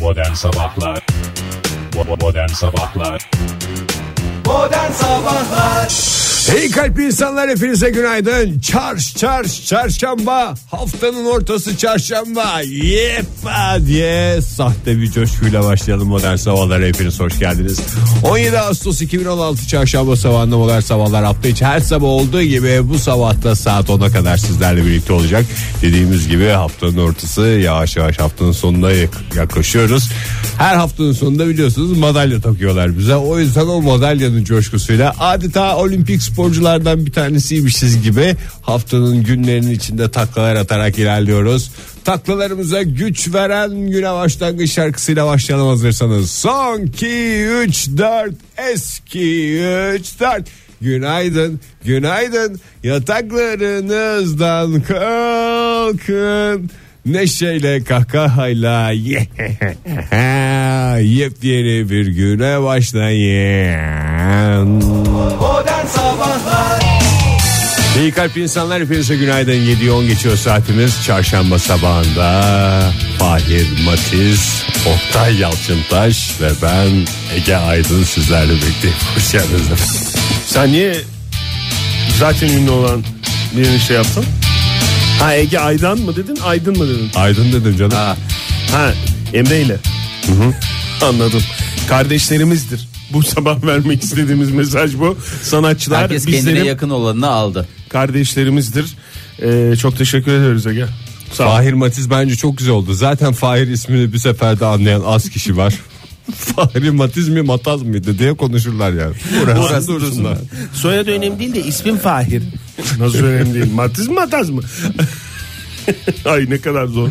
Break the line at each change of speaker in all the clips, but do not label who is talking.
Modern Sabahlar Bo- Modern Sabahlar
Hey kalpli insanlar hepinize günaydın. Çarş çarş çarşamba haftanın ortası çarşamba. Yeppa diye sahte bir coşkuyla başlayalım modern sabahlara hepiniz hoş geldiniz. 17 Ağustos 2016 çarşamba sabahında modern sabahlar hafta içi her sabah olduğu gibi bu sabahta saat 10'a kadar sizlerle birlikte olacak. Dediğimiz gibi haftanın ortası yavaş yavaş haftanın sonuna yak- yaklaşıyoruz. Her haftanın sonunda biliyorsunuz madalya takıyorlar bize. O yüzden o madalyanın coşkusuyla adeta olimpik sporculardan bir tanesiymişiz gibi haftanın günlerinin içinde taklalar atarak ilerliyoruz. Taklalarımıza güç veren güne başlangıç şarkısıyla başlayalım hazırsanız. Son 2 3 4 eski 3 4 Günaydın, günaydın. Yataklarınızdan kalkın. Neşeyle kahkahayla ye. yepyeni bir güne başlayın. İyi kalp insanlar hepinize günaydın 7'yi 10 geçiyor saatimiz Çarşamba sabahında Fahir Matiz Oktay Yalçıntaş ve ben Ege Aydın sizlerle birlikte Hoş geldiniz efendim.
Sen niye zaten ünlü olan birini şey yaptın? Ha Ege Aydan mı dedin Aydın mı dedin?
Aydın dedim canım
Ha, ha Emre ile. Anladım. Kardeşlerimizdir. Bu sabah vermek istediğimiz mesaj bu. Sanatçılar
Herkes kendine
bizlerin
yakın olanını aldı.
kardeşlerimizdir. Ee, çok teşekkür ederiz Ege. Sağ ol.
Fahir Matiz bence çok güzel oldu. Zaten Fahir ismini bir seferde anlayan az kişi var. Fahir Matiz mi Mataz mıydı diye konuşurlar yani. Burası dursunlar.
Soyadı önemli değil de ismim Fahir.
Nasıl önemli değil. Matiz mi Mataz mı? Ay ne kadar zor.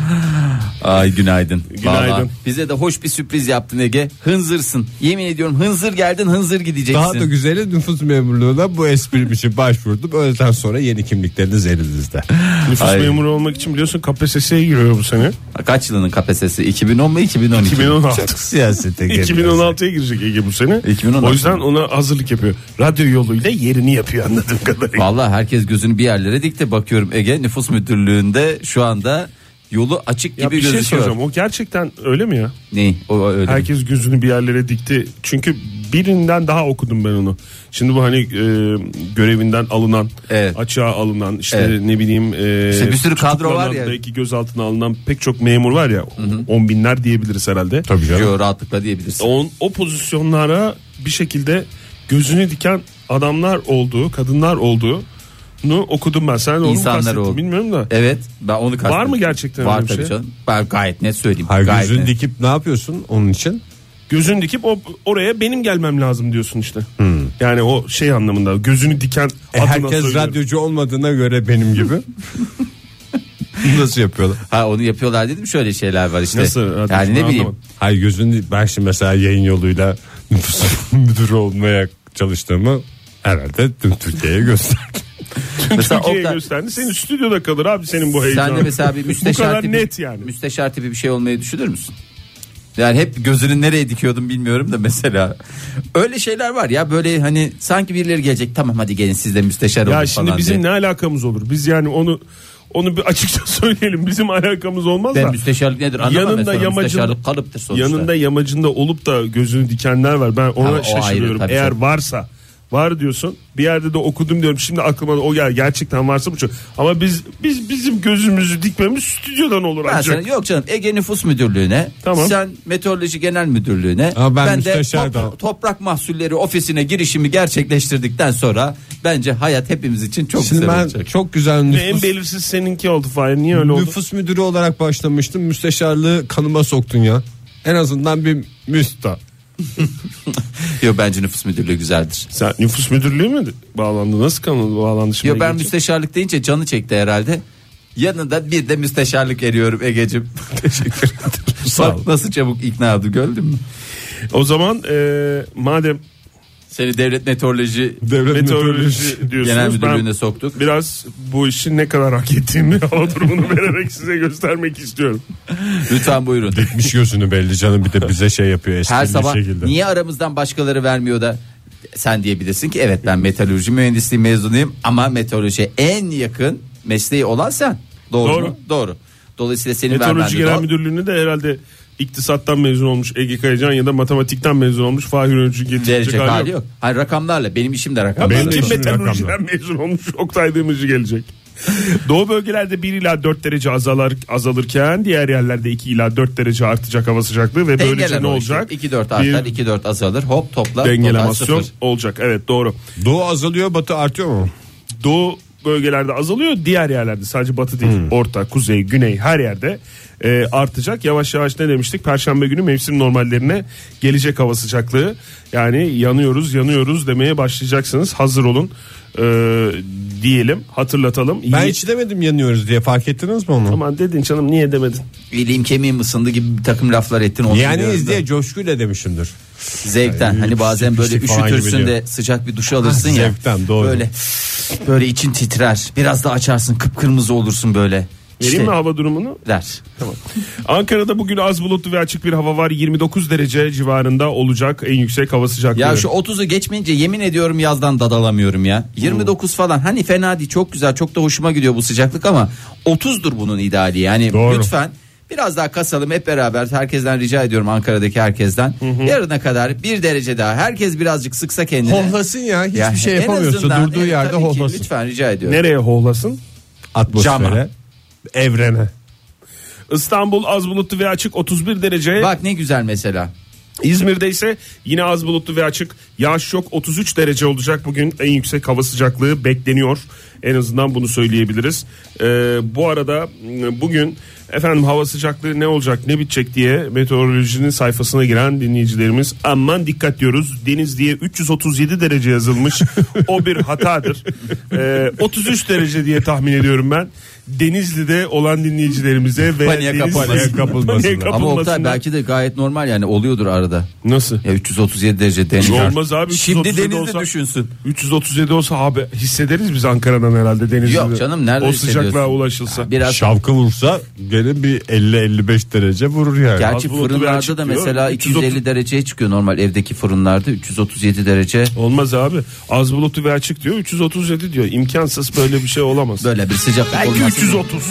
Ay günaydın.
Günaydın.
Vallahi bize de hoş bir sürpriz yaptın Ege. Hınzırsın. Yemin ediyorum hınzır geldin hınzır gideceksin.
Daha da güzeli nüfus memurluğuna bu esprim için başvurdum. Öğleden sonra yeni kimlikleriniz elinizde.
Nüfus
Ay.
memuru olmak için biliyorsun KPSS'ye giriyor bu sene.
Kaç yılının KPSS'i? 2010 mu 2012?
2016.
Siyasete geliyoruz.
2016'ya girecek Ege bu sene.
2016.
O yüzden ona hazırlık yapıyor. Radyo yoluyla yerini yapıyor anladığım kadarıyla.
Vallahi herkes gözünü bir yerlere dikti bakıyorum Ege nüfus müdürlüğünde şu anda yolu açık gibi
Ya bir şey
gözüküyor.
soracağım. O gerçekten öyle mi ya?
ne? O, o öyle.
Herkes gözünü bir yerlere dikti. Çünkü birinden daha okudum ben onu. Şimdi bu hani e, görevinden alınan,
Evet.
açığa alınan, işte
Evet.
ne bileyim e,
İşte bir sürü kadro var ya.
tutuklanandaki gözaltına alınan pek çok memur var ya. On binler diyebiliriz herhalde.
Tabii canım.
şey. Yo, rahatlıkla diyebilirsin.
On, o pozisyonlara bir şekilde gözünü diken adamlar olduğu, kadınlar olduğunu okudum ben. Sen onu mu
İnsanlar
kastettin
oldu.
bilmiyorum da.
Evet ben onu kastettim.
mı gerçekten
Var
öyle bir
tabii
şey?
canım. Ben gayet net söyleyeyim.
Hayır,
gayet
gözünü
net.
dikip ne yapıyorsun onun için?
Gözünü dikip o, oraya benim gelmem lazım diyorsun işte. Yani o şey anlamında gözünü diken
E,
adına
herkes
söylüyorum.
radyocu olmadığına göre benim gibi. Nasıl yapıyorlar?
Ha onu yapıyorlar dedim şöyle şeyler var işte.
Nasıl radyocu?
yani
Ben
ne bileyim.
anlamadım.
Hayır gözünü ben şimdi mesela yayın yoluyla nüfus müdürü olmaya çalıştığımı herhalde tüm Türkiye'ye gösterdim.
Mesela
Türkiye'ye
Oktay-
gösterdi. Senin stüdyoda kalır abi senin bu heyecan.
Sen de mesela bir müsteşar
Bu kadar
tipi,
net yani.
müsteşar tipi bir şey olmayı düşünür müsün? Yani hep gözünü nereye dikiyordum bilmiyorum da mesela. Öyle şeyler var ya böyle hani sanki birileri gelecek tamam hadi gelin siz de müsteşar olun
Ya şimdi
falan
bizim
diye.
ne alakamız olur? Biz yani onu onu bir açıkça söyleyelim. Bizim alakamız olmaz
Ben
da.
müsteşarlık nedir anlamam
Yanında
mesela
yamacın-
müsteşarlık kalıptır sonuçta.
Yanında yamacında olup da gözünü dikenler var. Ben ona
Ha, o ayrı
şaşırıyorum.
tabii
Eğer
canım.
varsa var diyorsun. Bir yerde de okudum diyorum. Şimdi aklıma o ya gerçekten varsa bu çok. Ama biz biz bizim gözümüzü dikmemiz stüdyodan olur
Ben
ancak.
sana- yok canım Ege Nüfus Müdürlüğü'ne
Tamam.
sen Meteoroloji Genel Müdürlüğü'ne
Ama ben
de
müsteşar da-
Toprak Mahsulleri Ofisi'ne girişimi gerçekleştirdikten sonra bence hayat hepimiz için çok
Şimdi
güzel
ben
olacak.
çok güzel
Ve en
nüfus,
belirsiz seninki oldu Fahir. Niye öyle oldu?
nüfus müdürü olarak başlamıştım. Müsteşarlığı kanıma soktun ya. En azından bir müsta.
Yok bence Nüfus Müdürlüğü güzeldir.
Sen nüfus müdürlüğü mü bağlandı? Nasıl kanalı bağlandı şimdi?
Yo ben
Ege'ciğim?
müsteşarlık deyince canı çekti herhalde. Yanında bir de müsteşarlık eriyorum Ege'cim. Teşekkür ederim.
Sağ ol.
Bak nasıl çabuk ikna oldu gördün mü?
O zaman e, madem
Seni devlet meteoroloji
Devlet
meteoroloji
genel
diyorsunuz ben
müdürlüğüne soktuk.
biraz bu işin ne kadar hak ettiğini hava durumunu vererek size göstermek istiyorum.
Lütfen buyurun.
Dikmiş gözünü belli canım bir de bize şey yapıyor esprili
Her sabah
şekilde.
niye aramızdan başkaları vermiyor da sen diyebilirsin ki evet ben meteoroloji mühendisliği mezunuyum ama meteorolojiye en yakın mesleği olan sen. Doğru,
Doğru.
mu? Doğru. Dolayısıyla senin vermen
Meteoroloji
de
Genel
doğal.
Müdürlüğü'nü de herhalde iktisattan mezun olmuş Ege Kayacan ya da matematikten mezun olmuş Fahir Öncü
Gelecek
gelecek
hali yok. Hayır rakamlarla benim işim de rakamlarla.
Benim de
Kim
işim
meteorolojiden mezun olmuş Oktay Demirci gelecek. Doğu bölgelerde 1 ila 4 derece azalar, azalırken diğer yerlerde 2 ila 4 derece artacak hava sıcaklığı ve böylece
Dengeler
ne
o işte.
olacak?
2-4
Bir
artar 2-4 azalır hop topla. topla
dengelemasyon
sıfır.
olacak. Evet doğru.
Doğu azalıyor batı artıyor mu?
Doğu bölgelerde azalıyor diğer yerlerde sadece batı değil
Hmm.
orta kuzey güney her yerde e, artacak yavaş yavaş ne demiştik perşembe günü mevsim normallerine gelecek hava sıcaklığı yani yanıyoruz yanıyoruz demeye başlayacaksınız hazır olun e, diyelim hatırlatalım
Ben
Yi-
hiç demedim yanıyoruz diye fark ettiniz mi onu?
Aman dedin canım niye demedin?
İliğim kemiğim ısındı gibi bir takım laflar ettin. onu
Yani
biliyorum da.
diye coşkuyla demişimdir.
Zevkten hani bazen böyle
pislik falan gibi
üşütürsün
diyor.
de sıcak bir duş alırsın
Ah,
ya.
zevkten, doğru.
Böyle böyle için titrer. Biraz da açarsın kıpkırmızı olursun böyle.
Vereyim
İşte
mi hava durumunu?
der.
Ankara'da bugün az bulutlu ve açık bir hava var. 29 derece civarında olacak en yüksek hava sıcaklığı.
Ya şu 30'u geçmeyince yemin ediyorum yazdan dadalamıyorum ya. 29 falan hani fena değil çok güzel çok da hoşuma gidiyor bu sıcaklık ama 30'dur bunun ideali yani
Doğru.
lütfen biraz daha kasalım hep beraber herkesten rica ediyorum Ankara'daki herkesten. Yarına kadar bir derece daha herkes birazcık sıksa kendini.
Hohlasın ya hiçbir
Ya
şey
en
yapamıyorsa
azından,
durduğu
evet,
yerde
tabii ki.
hohlasın.
Lütfen rica ediyorum.
Nereye hohlasın?
Atmosfere,
Cama.
evrene.
İstanbul az bulutlu ve açık 31 derece.
Bak ne güzel mesela.
İzmir'de ise yine az bulutlu ve açık. Yağış yok 33 derece olacak bugün. En yüksek hava sıcaklığı bekleniyor. En azından bunu söyleyebiliriz. Ee, bu arada m, bugün efendim hava sıcaklığı ne olacak ne bitecek diye meteorolojinin sayfasına giren dinleyicilerimiz aman dikkat diyoruz. Deniz diye 337 derece yazılmış. o bir hatadır. Ee, 33 derece diye tahmin ediyorum ben. Denizli'de olan dinleyicilerimize ve
Paniğe
Denizli'de-
kapılmasınlar.
Paniğe
Ama Oktay
kapılmasınlar.
belki de gayet normal yani oluyordur arada.
Nasıl?
Ya 337 derece deniz.
Olmaz abi.
Şimdi
337
denizde
olsa-
düşünsün.
337 olsa abi hissederiz biz Ankara'dan herhalde denizde.
Yok canım, nerede
O sıcaklığa
hissediyorsun?
ulaşılsa.
Biraz
Şapka vursa gene bir 50-55 derece vurur yani.
Gerçi
E, Az bulutlu bir
fırınlarda
açık
da
diyor.
mesela
330
250 dereceye çıkıyor normal evdeki fırınlarda 337 derece.
Olmaz abi. Az bulutlu ve açık diyor. 337 diyor. İmkansız böyle bir şey olamaz.
Böyle bir sıcaklık
Belki
olmaz.
330.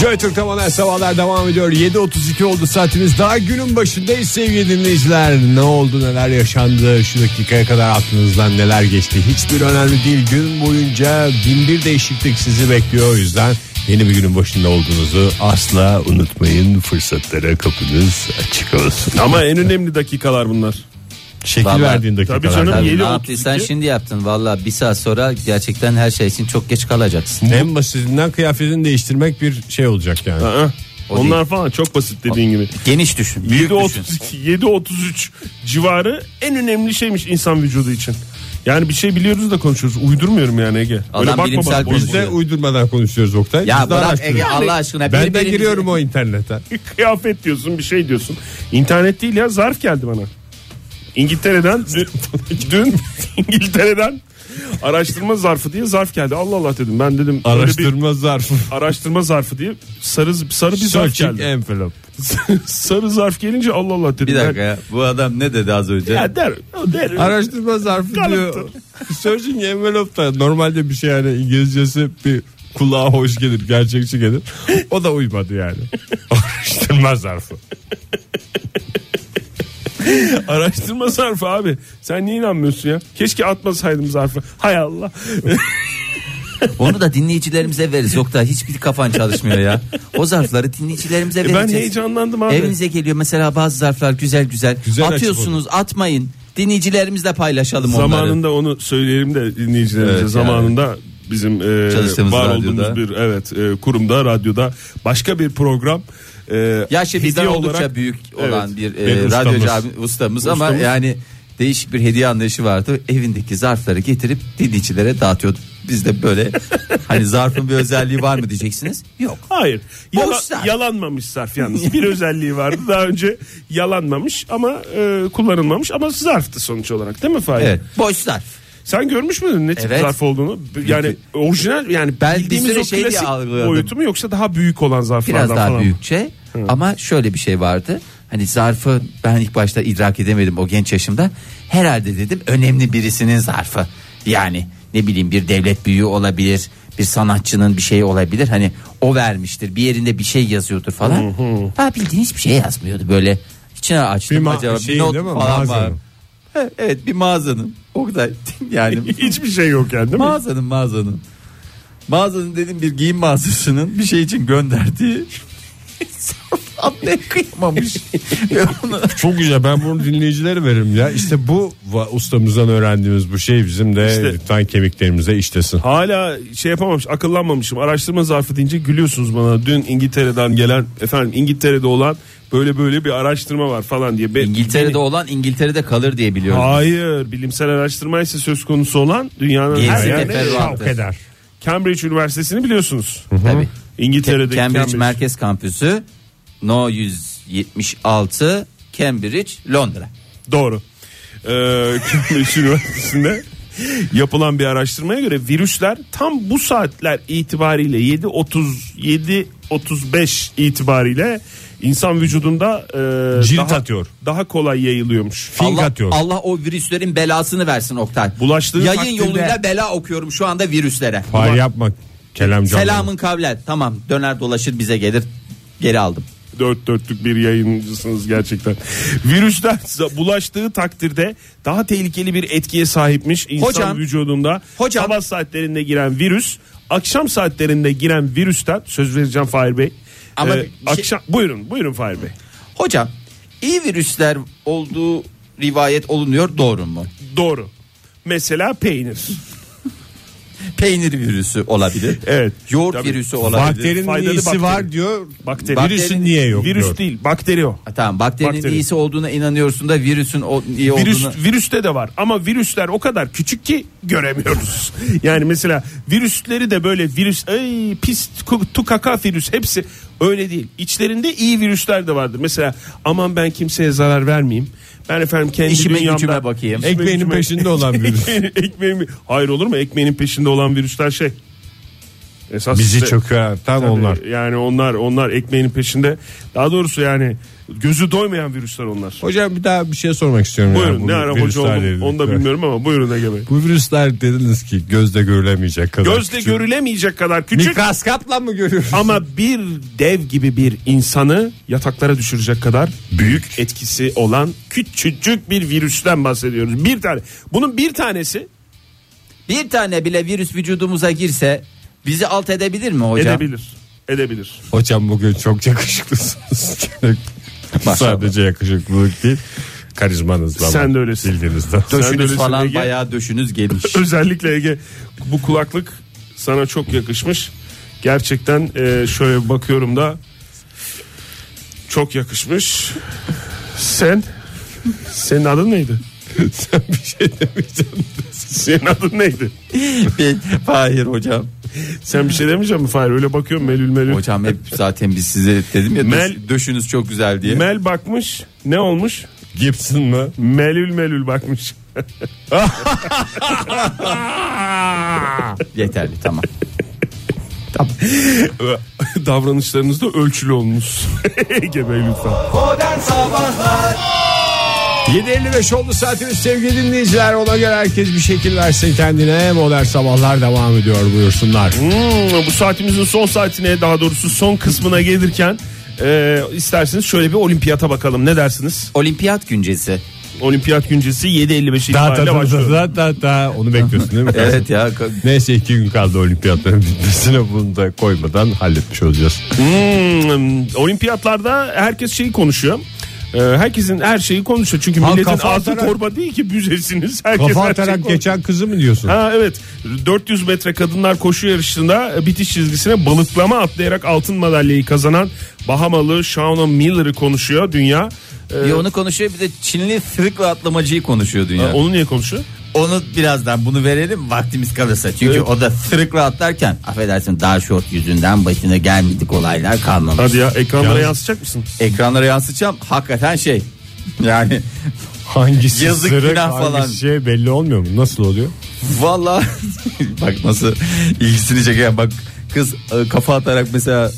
Joy Türk'te modern sabahlar devam ediyor. 7.32 oldu saatimiz. Daha günün başındayız sevgili dinleyiciler. Ne oldu neler yaşandı şu dakikaya kadar aklınızdan neler geçti. Hiçbir önemli değil. Gün boyunca bin bir değişiklik sizi bekliyor. O yüzden yeni bir günün başında olduğunuzu asla unutmayın. Fırsatlara kapınız açık olsun.
Ama en önemli dakikalar bunlar.
Şekil
Vallahi-
verdiğin dakikalar.
Tabii canım.
Tabii, ne
7.32.
yaptıysan şimdi yaptın. Valla bir saat sonra gerçekten her şey için çok geç kalacaksın.
En basitinden kıyafetini değiştirmek bir şey olacak yani.
Aa,
O
onlar falan çok basit dediğin gibi.
Geniş düşün. Büyük düşün.
732, 733 civarı en önemli şeymiş insan vücudu için. Yani bir şey biliyoruz da konuşuyoruz. Uydurmuyorum yani Ege. Öyle
Adam
bakma
bilimsel
bana.
konuşuyor.
Biz de uydurmadan konuşuyoruz Oktay.
Ya
Biz de
bırak
araştırıyoruz.
Ege Allah aşkına.
Ben de
birbirimizi-
giriyorum o internete.
kıyafet diyorsun bir şey diyorsun. İnternet değil ya zarf geldi bana. İngiltere'den dün, dün İngiltere'den araştırma zarfı diye zarf geldi. Allah Allah dedim ben dedim öyle bir
Araştırma zarfı.
araştırma zarfı diye sarı sarı bir zarf
Searching
geldi.
envelope.
sarı zarf gelince Allah Allah dedim.
Bir
ben-
dakika ya. Bu adam ne dedi az önce?
Ya der, o der.
Araştırma zarfı diyor. Searching envelope da normalde bir şey yani İngilizcesi bir kulağa hoş gelir, gerçekçi gelir. O da uymadı yani. Araştırma zarfı.
Araştırma zarfı abi. Sen niye inanmıyorsun ya? Keşke atmasaydım zarfı. Hay Allah.
Onu da dinleyicilerimize veririz. Yok da hiçbir kafan çalışmıyor ya. O zarfları dinleyicilerimize
E, ben
vereceğiz.
heyecanlandım abi.
Evinize geliyor mesela bazı zarflar güzel güzel.
Güzel açık
Atıyorsunuz atmayın. Dinleyicilerimizle paylaşalım onları.
Zamanında onu söyleyelim de dinleyicilerimize
Evet, yani.
zamanında bizim e,
Çalıştığımız
var
radyoda.
olduğumuz bir evet e, kurumda radyoda başka bir program e,
Yaşı şey, bizden
hediye
oldukça
olarak-
büyük olan
Evet,
bir
bir
e,
ustamız.
radyocu abi- ustamız ama
Ustamız.
yani değişik bir hediye anlayışı vardı. Evindeki zarfları getirip dinleyicilere dağıtıyordu. Biz de böyle hani zarfın bir özelliği var mı diyeceksiniz. Yok.
Hayır. Yala-
Boş zarf.
yalanmamış zarf yalnız. Bir özelliği vardı. Daha önce yalanmamış ama e, kullanılmamış ama zarftı sonuç olarak değil mi Fahir?
Evet. Boş zarf.
Sen görmüş müydün ne tip
Evet.
zarf olduğunu? Yani orijinal yani
Ben bir
bildiğimiz
süre
o
şey diye
klasik
algıladım.
boyutu mu yoksa daha büyük olan zarflardan
Biraz daha
falan mı?
büyükçe ama şöyle bir şey vardı. Hani zarfı ben ilk başta idrak edemedim o genç yaşımda. Herhalde dedim önemli birisinin zarfı. Yani ne bileyim bir devlet büyüğü olabilir, bir sanatçının bir şeyi olabilir. Hani o vermiştir. Bir yerinde bir şey yazıyordur falan. Ha bildiğin hiçbir şey yazmıyordu böyle. İçine açtım
Bir ma-
acaba
şeyin
bir not
değil mi?
falan var.
Mağazanın.
Ha, Evet bir mağazanın. Oktay yani
Hiçbir şey yok yani değil mi?
mağazanın mağazanın. Mağazanın dediğim bir giyim mağazasının bir şey için gönderdiği Abla kıyamamış. Ya bunu-
Çok güzel ben bunu dinleyicilere veririm ya. İşte bu va- ustamızdan öğrendiğimiz bu şey bizim de
İşte-
lütfen kemiklerimize işlesin.
Hala şey yapamamış, akıllanmamışım. Araştırma zarfı deyince gülüyorsunuz bana. Dün İngiltere'den gelen, efendim İngiltere'de olan böyle böyle bir araştırma var falan diye. Be-
İngiltere'de olan İngiltere'de kalır diye biliyorum.
Hayır, bilimsel araştırma ise söz konusu olan dünyanın
Gezi
her yerinde.
teferruatı.
eder.
Cambridge Üniversitesi'ni biliyorsunuz.
Tabii.
İngiltere'deki
Cambridge,
Cambridge.
Merkez Kampüsü No 176 Cambridge Londra.
Doğru. Ee, Cambridge Üniversitesi'nde yapılan bir araştırmaya göre virüsler tam bu saatler itibariyle 7.37 35 itibariyle insan vücudunda e,
Cirit
daha,
atıyor.
daha kolay yayılıyormuş.
Fink
Allah,
atıyor.
Allah o virüslerin belasını versin Oktay.
Bulaştığı
Yayın
takdirde-
yoluyla bela okuyorum şu anda virüslere.
Far yapma kelam canlı.
Selamın kavlen. Tamam döner dolaşır bize gelir. Geri aldım.
Dört dörtlük bir yayıncısınız gerçekten. Virüsler za- bulaştığı takdirde daha tehlikeli bir etkiye sahipmiş insan
Hocam,
vücudunda.
hocam.
Sabah saatlerinde giren virüs, akşam saatlerinde giren virüsten söz vereceğim Fahir Bey.
Ama
Ee,
bir şey-
akşam buyurun buyurun Fahir Bey.
Hocam iyi virüsler olduğu rivayet olunuyor doğru mu?
Doğru. Mesela peynir.
Peynir virüsü olabilir.
Evet.
Yoğurt
Tabii.
virüsü olabilir.
Bakterinin
Faydalı
iyisi
bakteri.
var diyor.
Bakteri.
Virüsün niye yok
Virüs
diyor.
değil, bakteri o.
Ha, Tamam bakterinin
Bakteri.
iyisi olduğuna inanıyorsun da virüsün o, iyi
Virüs,
olduğuna.
virüste de var ama virüsler o kadar küçük ki göremiyoruz. Yani mesela virüsleri de böyle virüs ay pis tu- tukaka virüs hepsi öyle değil. İçlerinde iyi virüsler de vardır. Mesela aman ben kimseye zarar vermeyeyim. Ben efendim kendi
İşime
dünyamda-
gücüme bakayım.
İşime
Ekmeğinin
gücüme-
peşinde olan virüs.
Ekmeğin- hayır olur mu? Ekmeğinin peşinde olan virüsler şey. Esas
Bizi
işte-
çöker tam
Tabii,
onlar.
Yani onlar onlar ekmeğinin peşinde. Daha doğrusu yani gözü doymayan virüsler onlar.
Hocam bir daha bir şey sormak istiyorum. ya,
Buyurun
bu
ne ara hoca
virüslerle
oldum
ilgili.
onu da bilmiyorum ama buyurun Ege Bey.
Bu virüsler dediniz ki gözde görülemeyecek kadar.
Gözle görülemeyecek kadar küçük
Mikroskopla mı görüyoruz?
ama bir dev gibi bir insanı yataklara düşürecek kadar büyük etkisi olan küçücük bir virüsten bahsediyoruz. Bir tane. Bunun bir tanesi
Bir tane bile virüs vücudumuza girse bizi alt edebilir mi hocam?
edebilir. Edebilir.
Hocam bugün çok yakışıklısınız. Sadece yakışıklılık değil. Karizmanız da var.
Sen de öylesin.
Bildiğinizden.
Sen de
Döşünüz
öylesin
falan
Ege.
bayağı döşünüz geniş.
Özellikle Ege bu kulaklık sana çok yakışmış. Gerçekten e, şöyle bakıyorum da çok yakışmış. Sen senin adın neydi?
Sen bir şey demeyeceğim.
Senin adın neydi?
Bir- Hayır hocam.
Sen bir şey demeyecek misin Fahir? Öyle bakıyorum melül melül.
Hocam hep zaten biz size dedim ya döş-
Mel-
döşünüz çok güzel diye.
Mel bakmış ne olmuş?
Gibson mı?
Melül melül bakmış.
Yeterli tamam.
Davranışlarınızda ölçülü olmuş. Ege Bey lütfen.
7.55 oldu saatimiz sevgili dinleyiciler. Ona göre herkes bir şekil versin kendine. Modern Sabahlar devam ediyor buyursunlar.
Hmm, bu saatimizin son saatine daha doğrusu son kısmına gelirken e, isterseniz şöyle bir olimpiyata bakalım. Ne dersiniz?
Olimpiyat güncesi.
Olimpiyat güncesi 7.55
Da da
itibariyle
da da
başlıyor.
da da da. Onu bekliyorsun değil mi?
Evet ya ka-
Neyse iki gün kaldı olimpiyatların bitmesine bunu da koymadan halletmiş olacağız.
Hmm, olimpiyatlarda herkes şeyi konuşuyor. E, herkesin her şeyi konuşuyor. Çünkü
Ha,
milletin
kafa
ağzı
atarak-
torba değil ki büzesiniz. Herkes
Kafa
her şeyi
atarak
konuşuyor.
geçen kızı mı diyorsun?
Ha evet 400 metre kadınlar koşu yarışında e, bitiş çizgisine balıklama atlayarak altın madalyayı kazanan Bahamalı Shauna Miller'ı konuşuyor dünya. E,
bir onu konuşuyor bir de Çinli sırıkla atlamacıyı konuşuyor dünya.
e, onu niye konuşuyor?
Onu birazdan bunu verelim vaktimiz kalırsa. Çünkü o da sırıkla atlarken affedersin dar şort yüzünden başına gelmedik olaylar kalmamış.
Hadi ya ekranlara
Yalnız-
yansıtacak mısın?
Ekranlara yansıtacağım hakikaten şey. Yani
Hangisi
Yazık,
sırık,
günah
hangisi
falan.
şey belli olmuyor mu? Nasıl oluyor?
valla bak nasıl ilgisini çeken bak kız e, kafa atarak mesela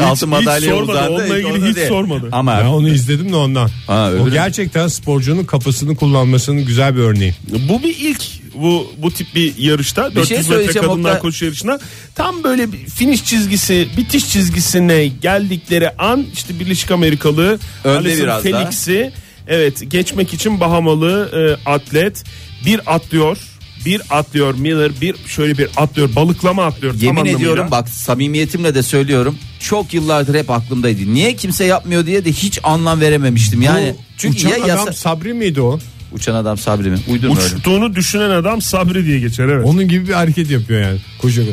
altın
hiç
madalyaya
sormadı,
uzandı.
onunla ilgili
Orada
hiç
değil.
sormadı.
Ama
Ben onu izledim de ondan.
Ha, öyle
o
mi?
gerçekten sporcunun kafasını kullanmasının güzel bir örneği.
Bu bir ilk bu bu tip bir yarışta
Bir şey
400 metre
söyleyeceğim
kadınlar
Oktay.
koşu yarışına tam böyle bir finish çizgisi, bitiş çizgisine geldikleri an işte Birleşik Amerikalı
Önde
Alison
biraz daha.
Felix'i evet geçmek için Bahamalı e, atlet bir atlıyor. Bir atlıyor Miller, bir şöyle bir atlıyor, balıklama atlıyor. tam
Yemin
anlamıyla.
ediyorum bak samimiyetimle de söylüyorum. Çok yıllardır hep aklımdaydı. Niye kimse yapmıyor diye de hiç anlam verememiştim. Yani çünkü
Uçan
ya
adam
yasa...
Sabri miydi o?
Uçan adam Sabri mi? Uydurma öyle.
Uçtuğunu düşünen adam Sabri diye geçer evet.
Onun gibi bir hareket yapıyor yani. Koşuyor.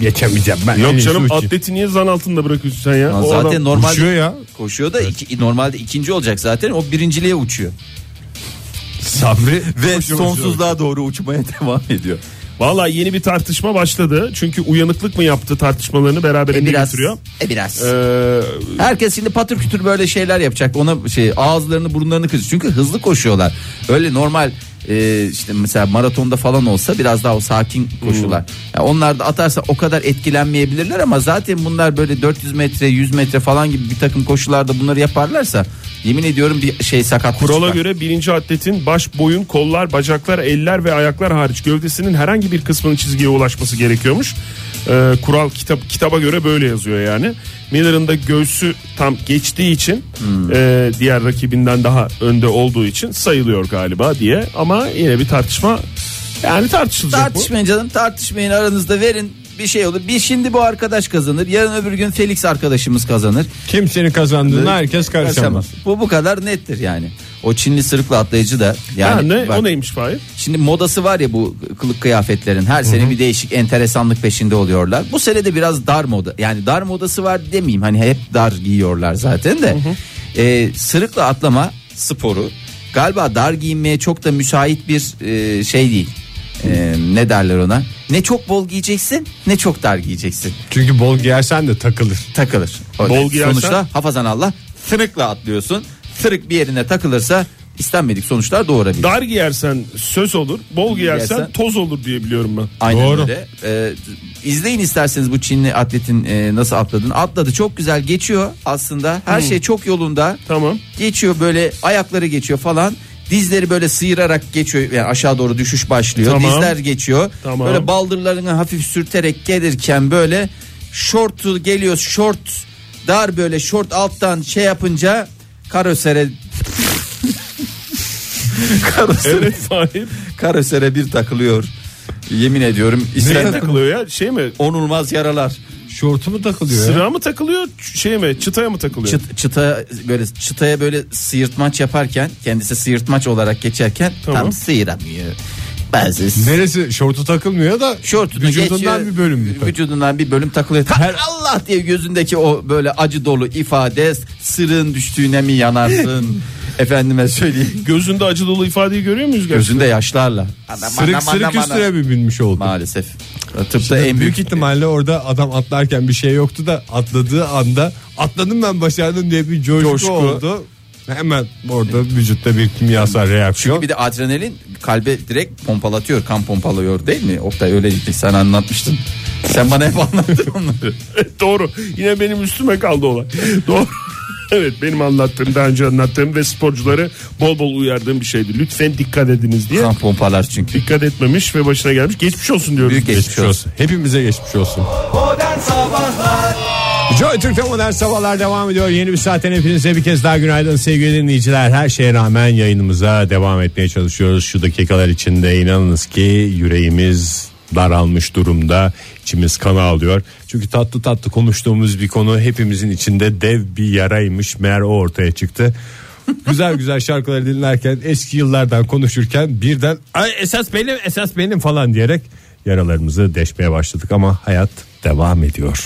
Geçemeyeceğim ben. En
Yok
iyisi
canım
uçayım.
atleti niye zan altında bırakıyorsun sen ya?
Lan
O
zaten
adam-
normalde
Uçuyor ya.
koşuyor da iki- normalde ikinci olacak zaten. O birinciliğe uçuyor.
Sabri
Ve
koşuyor,
sonsuzluğa doğru uçmaya devam ediyor.
Valla yeni bir tartışma başladı. Çünkü uyanıklık mı yaptı tartışmalarını beraberinde
E biraz.
getiriyor.
E biraz.
Ee,
Herkes şimdi patır kütür böyle şeyler yapacak. Ona şey ağızlarını burunlarını kırıyor. Çünkü hızlı koşuyorlar. Öyle normal e, işte mesela maratonda falan olsa biraz daha o sakin koşular.
Hmm.
Yani onlar da atarsa o kadar etkilenmeyebilirler ama zaten bunlar böyle 400 metre 100 metre falan gibi bir takım koşularda bunları yaparlarsa yemin ediyorum bir şey sakat
kurala göre birinci atletin baş, boyun, kollar, bacaklar, eller ve ayaklar hariç gövdesinin herhangi bir kısmının çizgiye ulaşması gerekiyormuş. Ee, kural kitap kitaba göre böyle yazıyor yani. Miller'ın da göğsü tam geçtiği için
Hmm.
e, diğer rakibinden daha önde olduğu için sayılıyor galiba diye. Ama yine bir tartışma yani tartışılacak bu.
Tartışmayın canım tartışmayın aranızda verin bir şey olur. Bir şimdi bu arkadaş kazanır. Yarın öbür gün Felix arkadaşımız kazanır.
Kimsenin kazandığına herkes karışamaz.
Bu bu kadar nettir yani. O Çinli sırıklı atlayıcı da yani
Ha, ne,
bak,
o neymiş Fahir?
şimdi modası var ya bu kılık kıyafetlerin her sene bir değişik enteresanlık peşinde oluyorlar. Bu sene de biraz dar moda yani dar modası var demeyeyim hani hep dar giyiyorlar zaten de. Ee, sırıkla atlama sporu galiba dar giyinmeye çok da müsait bir e, şey değil. Ee, ne derler ona? Ne çok bol giyeceksin ne çok dar giyeceksin
Çünkü bol giyersen de takılır.
takılır.
Bol giyersen-
Sonuçta hafazan Allah sırıkla atlıyorsun. Sırık bir yerine takılırsa istenmedik sonuçlar doğurabilir.
Dar giyersen söz olur, bol giyersen,
Giyersen-
toz olur diye biliyorum ben.
Aynen
Doğru.
öyle. Ee, izleyin isterseniz bu Çinli atletin e, nasıl atladığını. Atladı çok güzel geçiyor aslında. Her şey çok yolunda.
Tamam.
Geçiyor böyle ayakları geçiyor falan. Dizleri böyle sıyırarak geçiyor. Yani aşağı doğru düşüş başlıyor.
Tamam.
Dizler geçiyor.
Tamam.
Böyle baldırlarını hafif sürterek gelirken böyle şortu geliyor. Şort dar böyle şort alttan şey yapınca karosere karosere,
Evet Fahir.
karosere bir takılıyor. Yemin ediyorum
Neye
İskender-
takılıyor ya? Şey mi?
onulmaz yaralar.
Şortu mu takılıyor ya?
Sıra mı takılıyor? ç- Şey mi? Çıtaya mı takılıyor?
Çıt- çıta böyle çıtaya böyle sıyırtmaç yaparken kendisi sıyırtmaç olarak geçerken
Tamam.
tam sıyıramıyor. Bazı
Neresi? Şortu takılmıyor da
şortunu
vücudundan
geçiyor,
bir bölüm mü?
Vücudundan bir bölüm takılıyor. Her Allah diye gözündeki o böyle acı dolu ifade sırın düştüğüne mi yanarsın? Efendime söyleyeyim.
Gözünde acı dolu ifadeyi görüyor muyuz? gerçekten?
Gözünde yaşlarla.
Sırık sırık üstüne mi binmiş oldu?
Maalesef. Tıpta en
büyük,
büyük
ihtimalle orada adam atlarken bir şey yoktu da atladığı anda atladım ben başardım diye bir coşku,
Coşku.
oldu. Hemen orada vücutta bir kimyasal reaksiyon.
Bir de adrenalin kalbe direkt pompalatıyor, kan pompalıyor değil mi? Oktay öyle gitti. Sen anlatmıştın. Sen bana hep anlattın onları.
Doğru. Yine benim üstüme kaldı olay. Doğru. Evet benim anlattığım daha önce anlattığım ve sporcuları bol bol uyardığım bir şeydi. Lütfen dikkat ediniz diye.
Kan pompalar çünkü.
Dikkat etmemiş ve başına gelmiş. Geçmiş olsun diyoruz.
Büyük geçmiş olsun.
Hepimize geçmiş olsun. Joy Türk'te modern sabahlar devam ediyor. Yeni bir saatten hepinize bir kez daha günaydın sevgili dinleyiciler. Her şeye rağmen yayınımıza devam etmeye çalışıyoruz. Şu dakikalar içinde inanınız ki yüreğimiz daralmış durumda. İçimiz kana alıyor. Çünkü tatlı tatlı konuştuğumuz bir konu hepimizin içinde dev bir yaraymış. Meğer o ortaya çıktı. güzel güzel şarkıları dinlerken eski yıllardan konuşurken birden Ay, esas benim esas benim falan diyerek yaralarımızı deşmeye başladık ama hayat devam ediyor.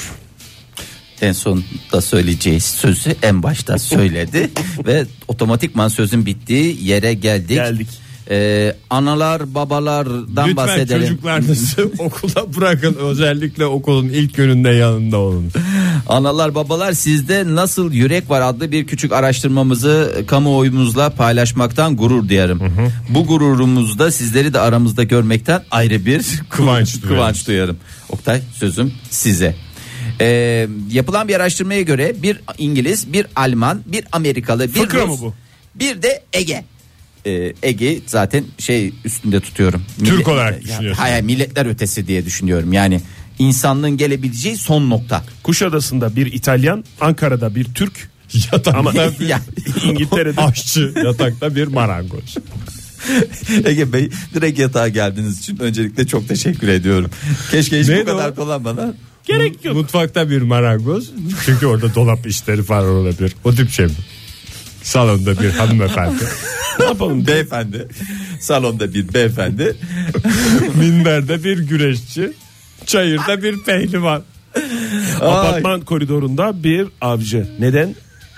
En sonunda söyleyeceğiz sözü en başta söyledi ve otomatikman sözün bittiği yere geldik.
Geldik.
Ee, analar babalardan
Lütfen
bahsedelim.
çocuklarınızı okula bırakın. Özellikle okulun ilk gününde yanında olun.
Analar babalar sizde nasıl yürek var adlı bir küçük araştırmamızı kamuoyumuzla paylaşmaktan gurur duyarım. Bu gururumuzda sizleri de aramızda görmekten ayrı bir
Kıvanç duyarım.
kıvanç duyarım. Oktay sözüm size. Ee, yapılan bir araştırmaya göre bir İngiliz, bir Alman, bir Amerikalı, bir
Fıkra
Rus,
mı bu?
bir de Ege. Ee, e, Ege zaten şey üstünde tutuyorum.
Türk
Millet-
olarak
Ya,
düşünüyorsun.
Hayır milletler ötesi diye düşünüyorum. Yani insanlığın gelebileceği son nokta.
Kuşadası'nda bir İtalyan, Ankara'da bir Türk ama
Yatakta bir
Ya,
İngiltere'de
aşçı, yatakta bir marangoz.
Ege Bey direkt yatağa geldiğiniz için öncelikle çok teşekkür ediyorum. Keşke hiç
Neydi
bu kadar
o?
dolanmadan.
gerek yok.
Mutfakta bir marangoz. Çünkü orada dolap işleri falan olabilir. O tip şey mi? Salonda bir hanımefendi.
Ne yapalım?
Beyefendi salonda bir beyefendi
Minberde bir güreşçi. Çayırda bir pehlivan.
Apartman koridorunda bir avcı. Neden?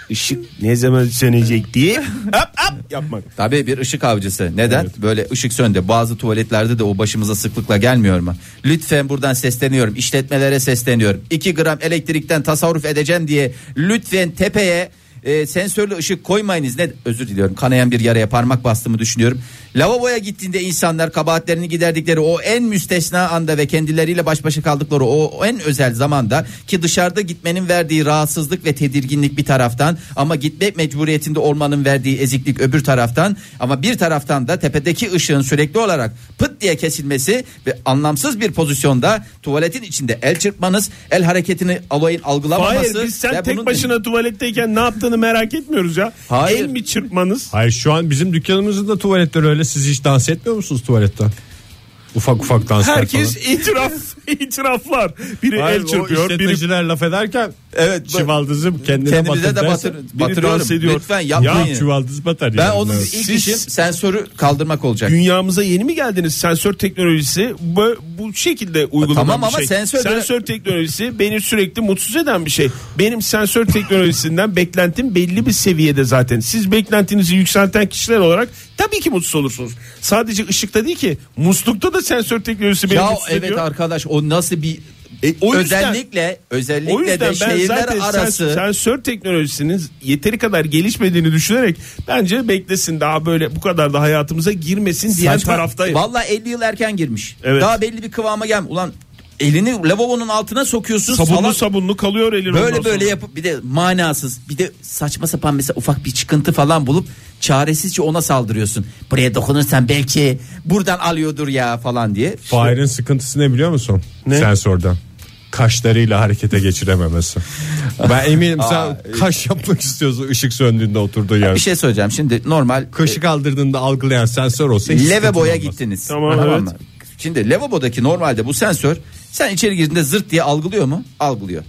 Işık ne zaman sönecek diye hap hap yapmak.
Tabii bir ışık avcısı. Neden? Böyle ışık söndü. Bazı tuvaletlerde de o başımıza sıklıkla gelmiyor mu? Lütfen buradan sesleniyorum. İşletmelere sesleniyorum. 2 gram elektrikten tasarruf edeceğim diye lütfen tepeye e, sensörlü ışık koymayınız. Ne özür diliyorum. Kanayan bir yaraya parmak bastığımı düşünüyorum. Lavaboya gittiğinde insanlar kabahatlerini giderdikleri o en müstesna anda ve kendileriyle baş başa kaldıkları o, o en özel zamanda ki dışarıda gitmenin verdiği rahatsızlık ve tedirginlik bir taraftan ama gitmek mecburiyetinde olmanın verdiği eziklik öbür taraftan ama bir taraftan da tepedeki ışığın sürekli olarak pıt diye kesilmesi ve anlamsız bir pozisyonda tuvaletin içinde el çırpmanız, el hareketini alayın algılamaması.
Hayır biz sen
ve
tek
bunun-
başına tuvaletteyken ne yaptığını merak etmiyoruz ya.
Hayır.
El mi çırpmanız?
Hayır şu an bizim dükkanımızın da tuvaletleri öyle. Siz hiç dans etmiyor musunuz tuvalette? Ufak ufak danslar
Herkes
falan.
itiraf itiraflar. Biri
Hayır,
el
o
çırpıyor, biri
işletmeciler laf ederken
Evet, bak-
çuvaldızım kendine
Kendinize
batır
de
derse,
batır,
biri
batırıyorum.
dans ediyor.
Lütfen
Ya
yapmayın.
çuvaldız batar
ben
yani.
onun
Evet.
ilk
Siz-
işim sensörü kaldırmak olacak.
dünyamıza yeni mi geldiniz? Sensör teknolojisi bu, bu şekilde uygulanan
Tamam
bir
ama
şey.
sensör-
teknolojisi beni sürekli mutsuz eden bir şey. Benim sensör teknolojisinden beklentim belli bir seviyede zaten. Siz beklentinizi yükselten kişiler olarak tabii ki mutsuz olursunuz. Sadece ışıkta değil ki muslukta da sensör teknolojisi beni
Ya
mutsuz
evet
ediyor.
arkadaş o nasıl bir
E, o yüzden-
özellikle özellikle
O yüzden
de
ben
şehirler
zaten sens-
arası
sensör teknolojisinin yeteri kadar gelişmediğini düşünerek bence beklesin daha böyle bu kadar da hayatımıza girmesin diyen
Saçma.
taraftayım.
Vallahi 50 yıl erken girmiş.
Evet.
Daha belli bir kıvama gel. Ulan elini lavabonun altına sokuyorsun.
Sabunlu
salak.
sabunlu kalıyor elin ondan
böyle
sonra.
böyle yapıp bir de manasız bir de saçma sapan mesela ufak bir çıkıntı falan bulup çaresizce ona saldırıyorsun. Buraya dokunursan belki buradan alıyordur ya falan diye.
Fahir'in sıkıntısı ne biliyor musun? Sensörden. Kaşlarıyla harekete geçirememesi. Ben eminim sen
e-
kaş yapmak istiyorsun ışık söndüğünde oturduğu yer.
Bir şey söyleyeceğim şimdi normal
Kaşı kaldırdığında algılayan sensör olsa hiç sıkıntı
Levaboya
olmaz.
gittiniz.
Tamam, evet.
mı? Şimdi lavabodaki normalde bu sensör sen içeri girdiğinde zırt diye algılıyor mu? Algılıyor.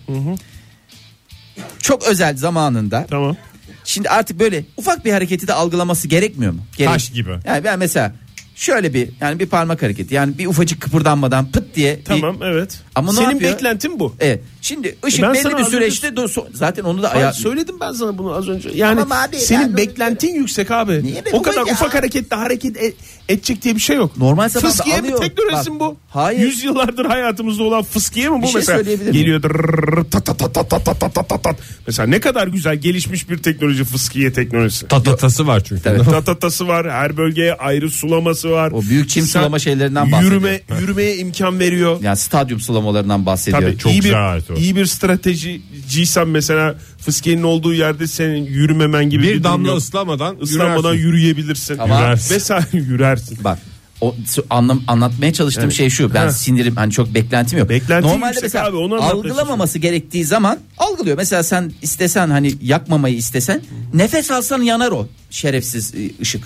Çok özel zamanında.
Tamam.
Şimdi artık böyle ufak bir hareketi de algılaması gerekmiyor mu? Gerek.
Taş gibi.
Yani ben mesela şöyle bir yani bir parmak hareketi yani bir ufacık kıpırdanmadan pıt diye. bir-
Tamam evet.
Ama ne
Senin
yapıyor? E,
beklentin bu.
Evet. Şimdi ışık
Ben sana
belli bir
az
süreçte do- so- zaten onu da
Hayır,
aya-
söyledim ben sana bunu az önce. Yani
Tamam abi,
senin
ben-
beklentin yüksek abi.
Niye be
o
baba
kadar
ya?
ufak hareketle hareket e- edecek diye bir şey yok.
Normal zamanda
fıskiye
alıyor.
mi teknolojisi mi
Bak,
bu?
hayır.
Yüzyıllardır hayatımızda olan fıskiye mi bu
Bir şey
mesela?
söyleyebilir miyim?
Geliyor dırrrr, ta ta ta ta ta ta ta ta ta ta. Mesela ne kadar güzel gelişmiş bir teknoloji fıskiye teknolojisi.
Tatatası var çünkü.
Evet.
Tatatası var, her bölgeye ayrı sulaması var.
O büyük çim
Sen
sulama şeylerinden bahsediyor.
Yürüme, yürümeye imkan veriyor.
yani stadyum sulamalarından bahsediyor.
Tabii
Çok
iyi bir,
güzel ait o.
iyi bir stratejiciysen mesela fıskenin olduğu yerde senin yürümemen gibi
Bir
durum
damla
yok.
ıslanmadan
ıslanmadan
yürürsün.
yürüyebilirsin.
Tamam.
Yürersin.
Vesaire yürersin.
Bak o s- anlam anlatmaya çalıştığım şey şu. Ben sinirim hani çok beklentim yok.
Beklenti
Normalde
yüksek
mesela
abi, onu anlatmaya
algılamaması gerektiği zaman algılıyor. Mesela sen istesen hani yakmamayı istesen nefes alsan yanar o şerefsiz e, ışık.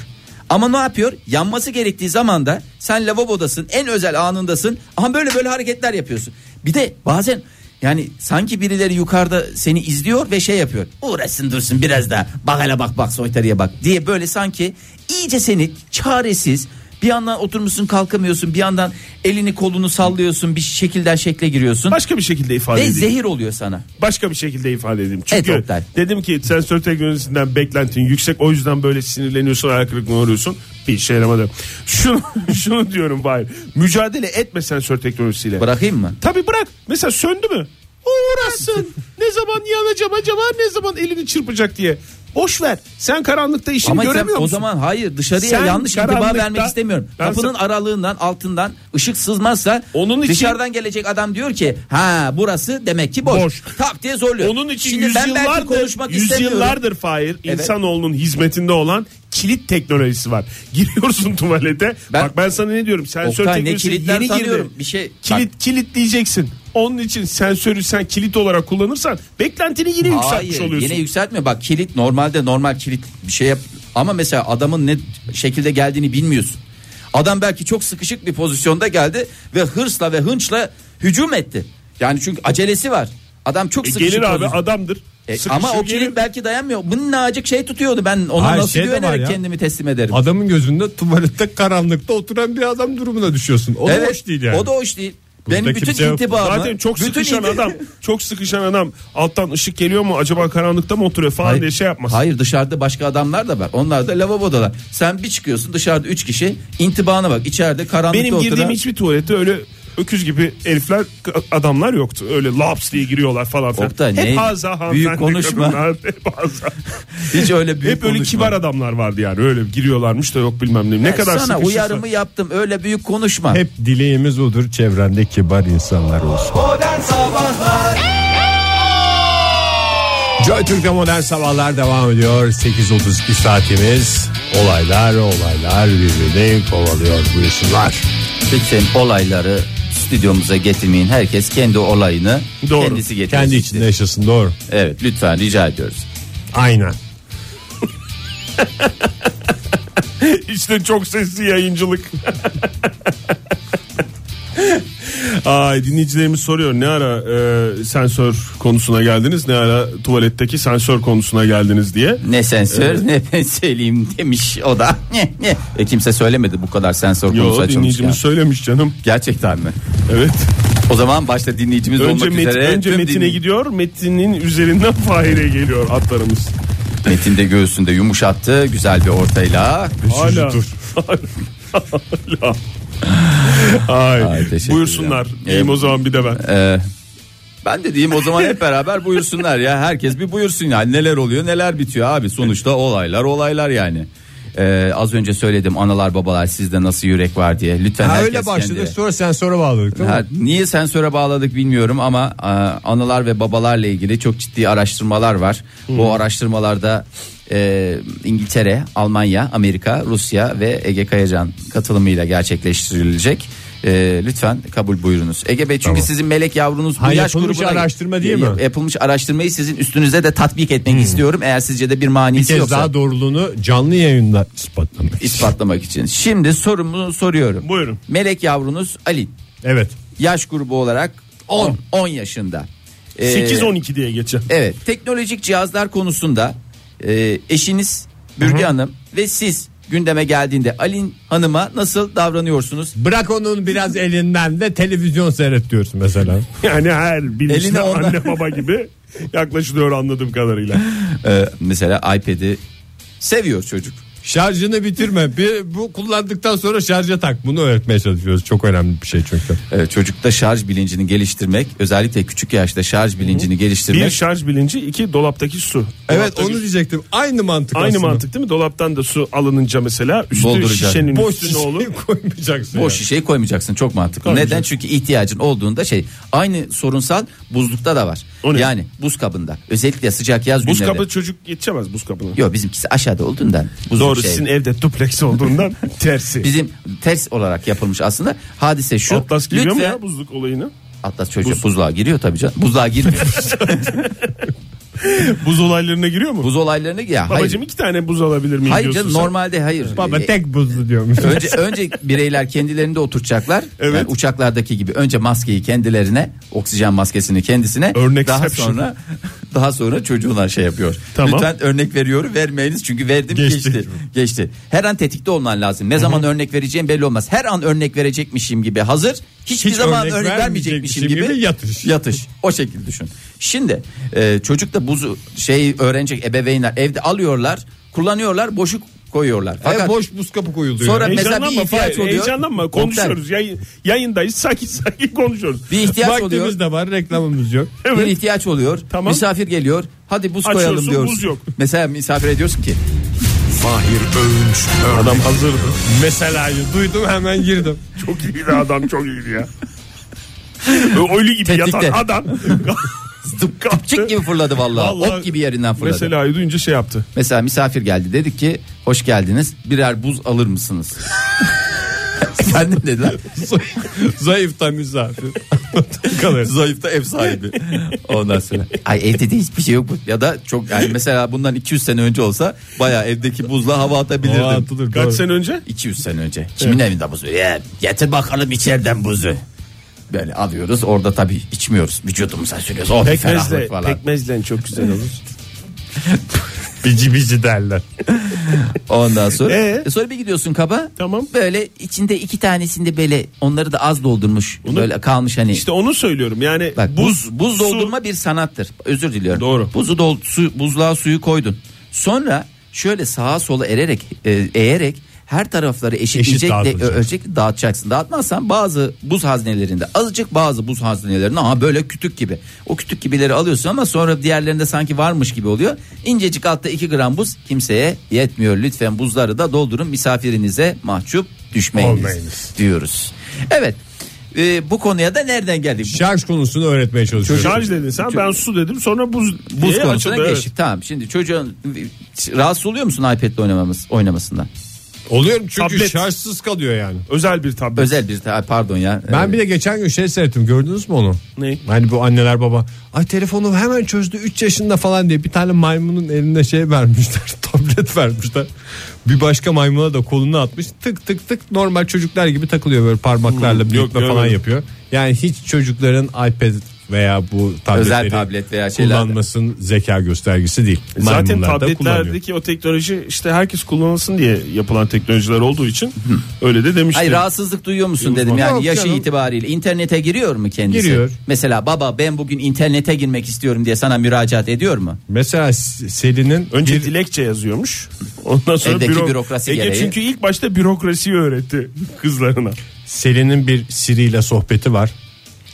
Ama ne yapıyor? Yanması gerektiği zaman da sen lavabodasın, en özel anındasın. Aha böyle böyle hareketler yapıyorsun. Bir de bazen yani sanki birileri yukarıda seni izliyor ve şey yapıyor. Uğraşsın dursun biraz daha. Bak hele bak bak soytarıya bak diye böyle sanki iyice seni çaresiz bir yandan oturmuşsun kalkamıyorsun bir yandan elini kolunu sallıyorsun bir şekilden şekle giriyorsun
Başka bir şekilde ifade
ve
edeyim.
zehir oluyor sana.
Başka bir şekilde ifade edeyim. Çünkü
Evet, Oktay.
dedim ki sensör teknolojisinden beklentin yüksek. O yüzden böyle sinirleniyorsun, ayak kırıklığına uğruyorsun. Bir işe yaramadı. Şunu, şunu diyorum Bahir. Mücadele etme sensör teknolojisiyle.
Bırakayım mı?
Tabi bırak. Mesela söndü mü? Uğraşsın. ne zaman yanacağım acaba ne zaman elini çırpacak diye. Boş ver. Sen karanlıkta işini
Ama sen
göremiyor
o
musun?
zaman hayır dışarıya
Sen
yanlış intiba
karanlıkta-
vermek istemiyorum.
Ben
Kapının
sen-
aralığından altından ışık sızmazsa
Onun için-
dışarıdan gelecek adam diyor ki ha burası demek ki boş.
Boş.
Tak diye zorluyor.
Onun için
Şimdi ben belki
yüzyıllardır,
konuşmak istemiyorum.
yüzyıllardır Fahir
Evet.
insanoğlunun hizmetinde olan kilit teknolojisi var. Giriyorsun tuvalete.
Ben-
bak ben sana ne diyorum? Sensör
Oktay, ne
teknolojisi
kilitler
yeni girdi.
sanıyorum. Bir şey-
kilit kilitleyeceksin. Onun için sensörü sen kilit olarak kullanırsan beklentini yine yükseltmiş
Hayır,
oluyorsun.
Yine yükseltme bak kilit normalde normal kilit bir şey yap ama mesela adamın ne şekilde geldiğini bilmiyorsun. Adam belki çok sıkışık bir pozisyonda geldi ve hırsla ve hınçla hücum etti. Yani çünkü acelesi var. Adam çok
E,
sıkışık.
gelir abi
pozisyon-
adamdır.
E,
Sıkışır
ama o
gelir.
kilit belki dayanmıyor. Minnacık şey tutuyordu ben ona
Hayır,
nasıl
şey de var
güvenerek
ya.
kendimi teslim ederim.
Adamın gözünde tuvalette karanlıkta oturan bir adam durumuna düşüyorsun. O da hoş değil yani.
O da hoş değil.
Burada
Benim bütün
kimse yok.
intibamı
Zaten çok
bütün
sıkışan
inti-
adam, çok sıkışan adam alttan ışık geliyor mu acaba karanlıkta mı oturuyor falan diye şey yapmaz.
Hayır dışarıda başka adamlar da var. Onlar da lavabodalar. Sen bir çıkıyorsun dışarıda 3 kişi intibana bak. içeride karanlıkta
Benim girdiğim
oturan-
hiçbir tuvalette öyle öküz gibi elfler adamlar yoktu. Öyle laps diye giriyorlar falan filan.
Oktay,
hep
ne-
ağza hanımefendi
büyük konuşma.
kadınlar, hep ağza.
Hiç öyle büyük
hep öyle
konuşma.
kibar adamlar vardı yani. Öyle giriyorlarmış da yok bilmem ne. Ne
Ya
kadar
sana
sıkışırsa.
uyarımı yaptım. Öyle büyük konuşma.
Hep dileğimiz odur çevrende kibar insanlar olsun. Joy Türk'te modern sabahlar devam ediyor. 8.32 saatimiz. Olaylar olaylar birbirini kovalıyor buyursunlar.
Lütfen olayları stüdyomuza getirmeyin. Herkes kendi olayını
Doğru.
kendisi getirsin.
Kendi içinde yaşasın doğru.
Evet lütfen rica ediyoruz.
Aynen.
İşte çok sesli yayıncılık. Ay dinleyicilerimiz soruyor ne ara e, sensör konusuna geldiniz ne ara tuvaletteki sensör konusuna geldiniz diye.
Ne sensör ne ben söyleyeyim demiş o da. Ne, ne. E, kimse söylemedi bu kadar sensör konusu
Yo
açılmış.
dinleyicimiz
ya.
söylemiş canım.
Gerçekten mi?
Evet.
O zaman başta dinleyicimiz
Önce,
olmak
Metin-
üzere.
önce
tüm
metine
dinley-
gidiyor. Metinin üzerinden Fahir'e geliyor atlarımız.
Metin de göğsünde yumuşattı güzel bir ortayla.
Hala. Hala. Ay,
Ay, teşekkür
buyursunlar.
ederim.
İyiyim
Ee,
o zaman bir de ben.
Ee, ben de diyeyim o zaman hep beraber buyursunlar ya. Herkes bir buyursun yani neler oluyor neler bitiyor abi. Sonuçta olaylar olaylar yani. Ee, az önce söyledim analar babalar sizde nasıl yürek var diye. Lütfen
Ha,
herkes
öyle başladık
kendi-
sonra sensöre bağladık değil mi?
Ha, niye sensöre bağladık bilmiyorum ama e, analar ve babalarla ilgili çok ciddi araştırmalar var. Bu araştırmalarda e, İngiltere, Almanya, Amerika, Rusya ve Ege Kayacan katılımıyla gerçekleştirilecek. E, lütfen kabul buyurunuz. Ege Bey çünkü sizin melek yavrunuz bu
Ha,
yaş
yapılmış
grubuna-
araştırma değil mi?
Yapılmış araştırmayı sizin üstünüze de tatbik etmek istiyorum. Eğer sizce de bir manisi
Bir kez
yoksa
daha doğruluğunu canlı yayında ispatlamak.
ispatlamak için. Şimdi sorumu soruyorum.
Buyurun.
Melek yavrunuz Ali
Evet.
yaş grubu olarak 10 10 yaşında. Ee,
8-12 diye geçer.
Evet, teknolojik cihazlar konusunda e, eşiniz Bürge Hanım ve siz gündeme geldiğinde Alin Hanım'a nasıl davranıyorsunuz?
Bırak onun biraz elinden de televizyon seyret diyorsun mesela.
Yani her bilinçli
Eline ondan-
anne baba gibi yaklaşılıyor anladığım kadarıyla.
Ee, mesela iPad'i seviyor çocuk.
Şarjını bitirme. Bir, bu kullandıktan sonra şarja tak. Bunu öğretmeye çalışıyoruz. Çok önemli bir şey çünkü.
Ee, çocukta şarj bilincini geliştirmek, özellikle küçük yaşta şarj bilincini geliştirmek.
Bir şarj bilinci, iki dolaptaki su.
Evet
Dolaptaki
onu diyecektim. Aynı mantık
Aynı
aslında.
mantık değil mi? Dolaptan da su alınınca mesela üstü
Dolduracak.
şişenin
Boş
üstüne
şişeyi
olur.
koymayacaksın.
Boş
yani.
şişeyi koymayacaksın çok mantıklı.
Koymayacaksın.
Neden? Çünkü ihtiyacın olduğunda şey aynı sorunsal buzlukta da var.
O ne?
Yani buz kabında. Özellikle sıcak yaz
Buz
günlerinde.
kabı çocuk yetişemez buz kabına.
Yok bizimkisi aşağıda olduğundan. buzluk
Doğru
şey.
sizin e- evde dupleks olduğundan tersi.
Bizim ters olarak yapılmış aslında. Hadise şu.
Atlas giriyor mu
lütfen,
ya buzluk olayını?
Atlas çocuğa buzluğa giriyor tabii canım. Buzluğa girmiyor.
Buz olaylarına giriyor mu?
Buz olaylarına ya hayır.
Babacım iki tane buz alabilir miyim
hayır
diyorsun
canım
sen?
normalde hayır.
Baba
Ee,
tek buzlu diyormuş.
önce önce bireyler kendilerinde oturtacaklar.
Evet.
Yani uçaklardaki gibi önce maskeyi kendilerine, oksijen maskesini kendisine
Örnek
daha
exception.
sonra daha sonra çocuğuna şey yapıyor.
Tamam.
Lütfen örnek veriyorum, vermeyiniz çünkü verdim
Geçti.
geçti. Geçti. Her an tetikte olman lazım. Ne zaman örnek vereceğim belli olmaz. Her an örnek verecekmişim gibi hazır. Hiçbir
Hiç
zaman
örnek
örnek, vermeyecekmişim gibi,
vermeyecekmişim gibi yatış.
Yatış. O şekilde düşün. Şimdi e, çocuk da buzu şey öğrenecek ebeveynler evde alıyorlar, kullanıyorlar, boşu koyuyorlar.
Ay,
Fakat
boş buz kapı koyuluyor.
Sonra-
Yani.
mesela bir
Heyecanlanma,
ihtiyaç
Fahir,
oluyor.
Heyecanlanma
Oktay.
konuşuyoruz. Yayın, yayındayız sakin sakin konuşuyoruz.
bir ihtiyaç oluyor.
Vaktimiz de var reklamımız yok.
Evet.
Bir ihtiyaç oluyor.
Tamam.
Misafir geliyor. Hadi buz
Açıyorsun,
koyalım diyoruz.
buz yok.
Mesela misafir ediyorsun ki
Fahir Öğünç,
Adam hazırdı.
Mesela duydum hemen girdim.
Çok iyiydi adam çok iyiydi ya. Öyle gibi
Tetikte.
yatan adam
Zıp, tıpçık gibi fırladı vallahi.
Vallahi
Ok gibi yerinden fırladı. Mesela...
Mesela duyunca şey yaptı.
misafir geldi dedik ki hoş geldiniz birer buz alır mısınız? Efendim dediler.
Zayıftan misafir. Kalır.
Zayıfta ev sahibi. Ondan sonra. Ay evde de hiçbir şey yok. mu? Ya da çok yani mesela bundan 200 sene önce olsa bayağı evdeki buzla hava atabilirdim.
Hava atılır.
Kaç
Doğru.
sene önce?
200 sene önce. Kimin evinde buzu? Ya, getir bakalım içeriden buzu. Böyle alıyoruz orada tabii içmiyoruz. Vücudumuza sürüyoruz. Oh, bir ferahlık
Pekmezle,
falan.
pekmezle çok güzel olur.
Bici bici derler.
Ondan sonra
Ee?
e, sonra bir gidiyorsun kaba.
Tamam.
Böyle içinde iki tanesinde böyle onları da az doldurmuş. böyle kalmış hani.
İşte onu söylüyorum yani
Bak buz buz,
su-
doldurma bir sanattır. Özür diliyorum.
Doğru.
Buzu dol su, buzluğa suyu koydun. Sonra şöyle sağa sola ererek e, eğerek her tarafları eşitleyecek de,
dağıtılacak.
ölçekli dağıtacaksın. Dağıtmazsan bazı buz haznelerinde azıcık bazı buz haznelerinde aha böyle kütük gibi. O kütük gibileri alıyorsun ama sonra diğerlerinde sanki varmış gibi oluyor. İncecik altta 2 gram buz kimseye yetmiyor. Lütfen buzları da doldurun misafirinize mahcup düşmeyiniz
Olmayınız.
diyoruz. Evet. e, bu konuya da nereden geldik?
Şarj konusunu öğretmeye çalışıyoruz.
Şarj dedin sen ben su dedim sonra buz diye
Buz konusuna
açıldı, evet.
geçtik. Tamam şimdi çocuğun rahatsız oluyor musun iPad'le oynamamız, oynamasından?
Oluyorum çünkü
Tablet.
şarjsız kalıyor yani.
Özel bir tablet.
Özel bir ta- pardon ya. e,
Ben bir de geçen gün şey seyrettim gördünüz mü onu?
Neyi?
Hani bu anneler baba ay telefonu hemen çözdü 3 yaşında falan diye bir tane maymunun eline şey vermişler tablet vermişler. Bir başka maymuna da kolunu atmış tık tık tık normal çocuklar gibi takılıyor böyle parmaklarla
Hmm, yok,
büyütme falan
görmedim.
yapıyor. Yani hiç çocukların iPad veya bu tabletleri
Özel tablet veya şeyler.
kullanmasının zeka göstergesi değil.
E, Zaten
Maymunlar da kullanıyor.
tabletlerdeki o teknoloji işte herkes kullanılsın diye yapılan teknolojiler olduğu için öyle de demiştim.
Ay rahatsızlık duyuyor musun dedim yani
Yok
yaşı
canım.
itibariyle internete giriyor mu kendisi?
Giriyor.
Mesela baba ben bugün internete girmek istiyorum diye sana müracaat ediyor mu?
Mesela S- Selin'in
Önce
bir-
dilekçe yazıyormuş. Ondan sonra
Evdeki bürokrasi
Ege
gereği.
çünkü ilk başta bürokrasiyi öğretti kızlarına.
Ee,
Selin'in bir Siri ile sohbeti var.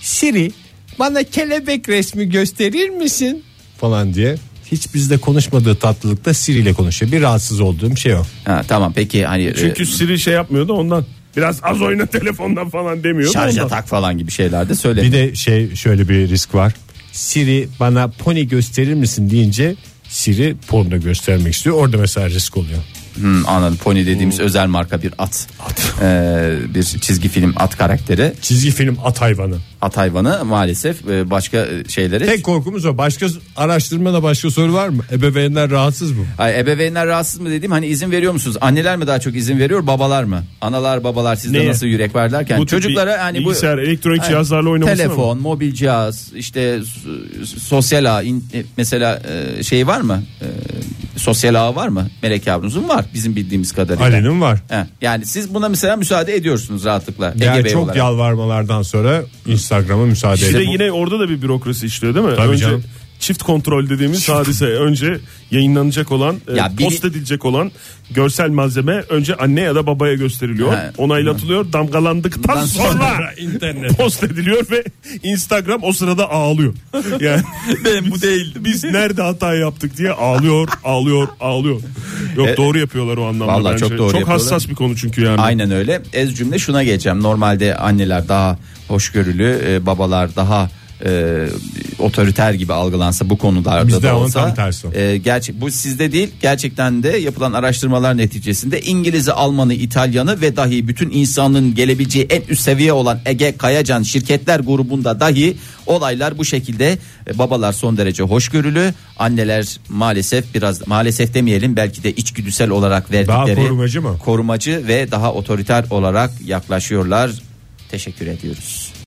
Siri bana kelebek resmi gösterir misin? Falan diye. Hiç bizde konuşmadığı tatlılıkta Siri ile konuşuyor. Bir rahatsız olduğum şey o.
Ha, tamam peki hani
Çünkü Siri şey yapmıyordu ondan. Biraz az oyna telefondan falan demiyor.
e, şarja tak falan gibi şeyler de söyle.
Bir de şey şöyle bir risk var. Siri bana pony gösterir misin deyince Siri porno göstermek istiyor. Orada mesela risk oluyor.
Hmm, anladım pony dediğimiz özel marka bir at. Ee, bir çizgi film at karakteri.
Çizgi film at hayvanı.
At hayvanı maalesef e, başka e, şeylere
Tek korkumuz o. Başka araştırmada başka soru var mı? Ebeveynler rahatsız mı?
Ay, ebeveynler rahatsız mı dediğim hani izin veriyor musunuz? Anneler mi daha çok izin veriyor babalar mı? Analar babalar sizde
Neye?
nasıl yürek var derken
Bu tip bir
çocuklara hani bu
bilgisayar, elektronik cihazlarla oynamasına
Telefon, mobil cihaz, işte s- sosyal ağ in- e, mesela e, şey var mı? E, sosyal ağ var mı? Melek yavrunuzun var bizim bildiğimiz kadarıyla.
Ali'nin var.
He, yani siz buna mesela müsaade ediyorsunuz rahatlıkla. Ege
Yani
Bey
çok
olarak.
yalvarmalardan sonra Instagram'a müsaade
Bir de
edin.
yine orada da bir bürokrasi işliyor değil mi?
Tabii
önce
canım.
çift kontrol dediğimiz hadise önce yayınlanacak olan, e,
Ya biri-
post edilecek olan görsel malzeme önce anne ya da babaya gösteriliyor.
He.
Onaylatılıyor. Damgalandıktan
Ondan
sonra internet post ediliyor ve Instagram o sırada ağlıyor. Yani
Ben bu değildim.
biz nerede hata yaptık diye ağlıyor, ağlıyor, ağlıyor. Yok doğru yapıyorlar o anlamda
E- Vallahi
bence.
çok doğru yapıyorlar.
hassas bir konu çünkü yani.
Aynen öyle. Ez cümle şuna geleceğim. Normalde anneler daha hoşgörülü, e, babalar daha e, otoriter gibi algılansa bu konularda
Bizde
da
ama
olsa.
tam tersi o.
e, gerçek bu sizde değil. Gerçekten de yapılan araştırmalar neticesinde İngiliz'i, Alman'ı, İtalyan'ı ve dahi bütün insanlığın gelebileceği en üst seviye olan Ege Kayacan şirketler grubunda dahi olaylar bu şekilde. E, babalar son derece hoşgörülü, anneler maalesef biraz maalesef demeyelim belki de içgüdüsel olarak verdikleri
Daha korumacı mı?
korumacı ve daha otoriter olarak yaklaşıyorlar. Teşekkür ediyoruz.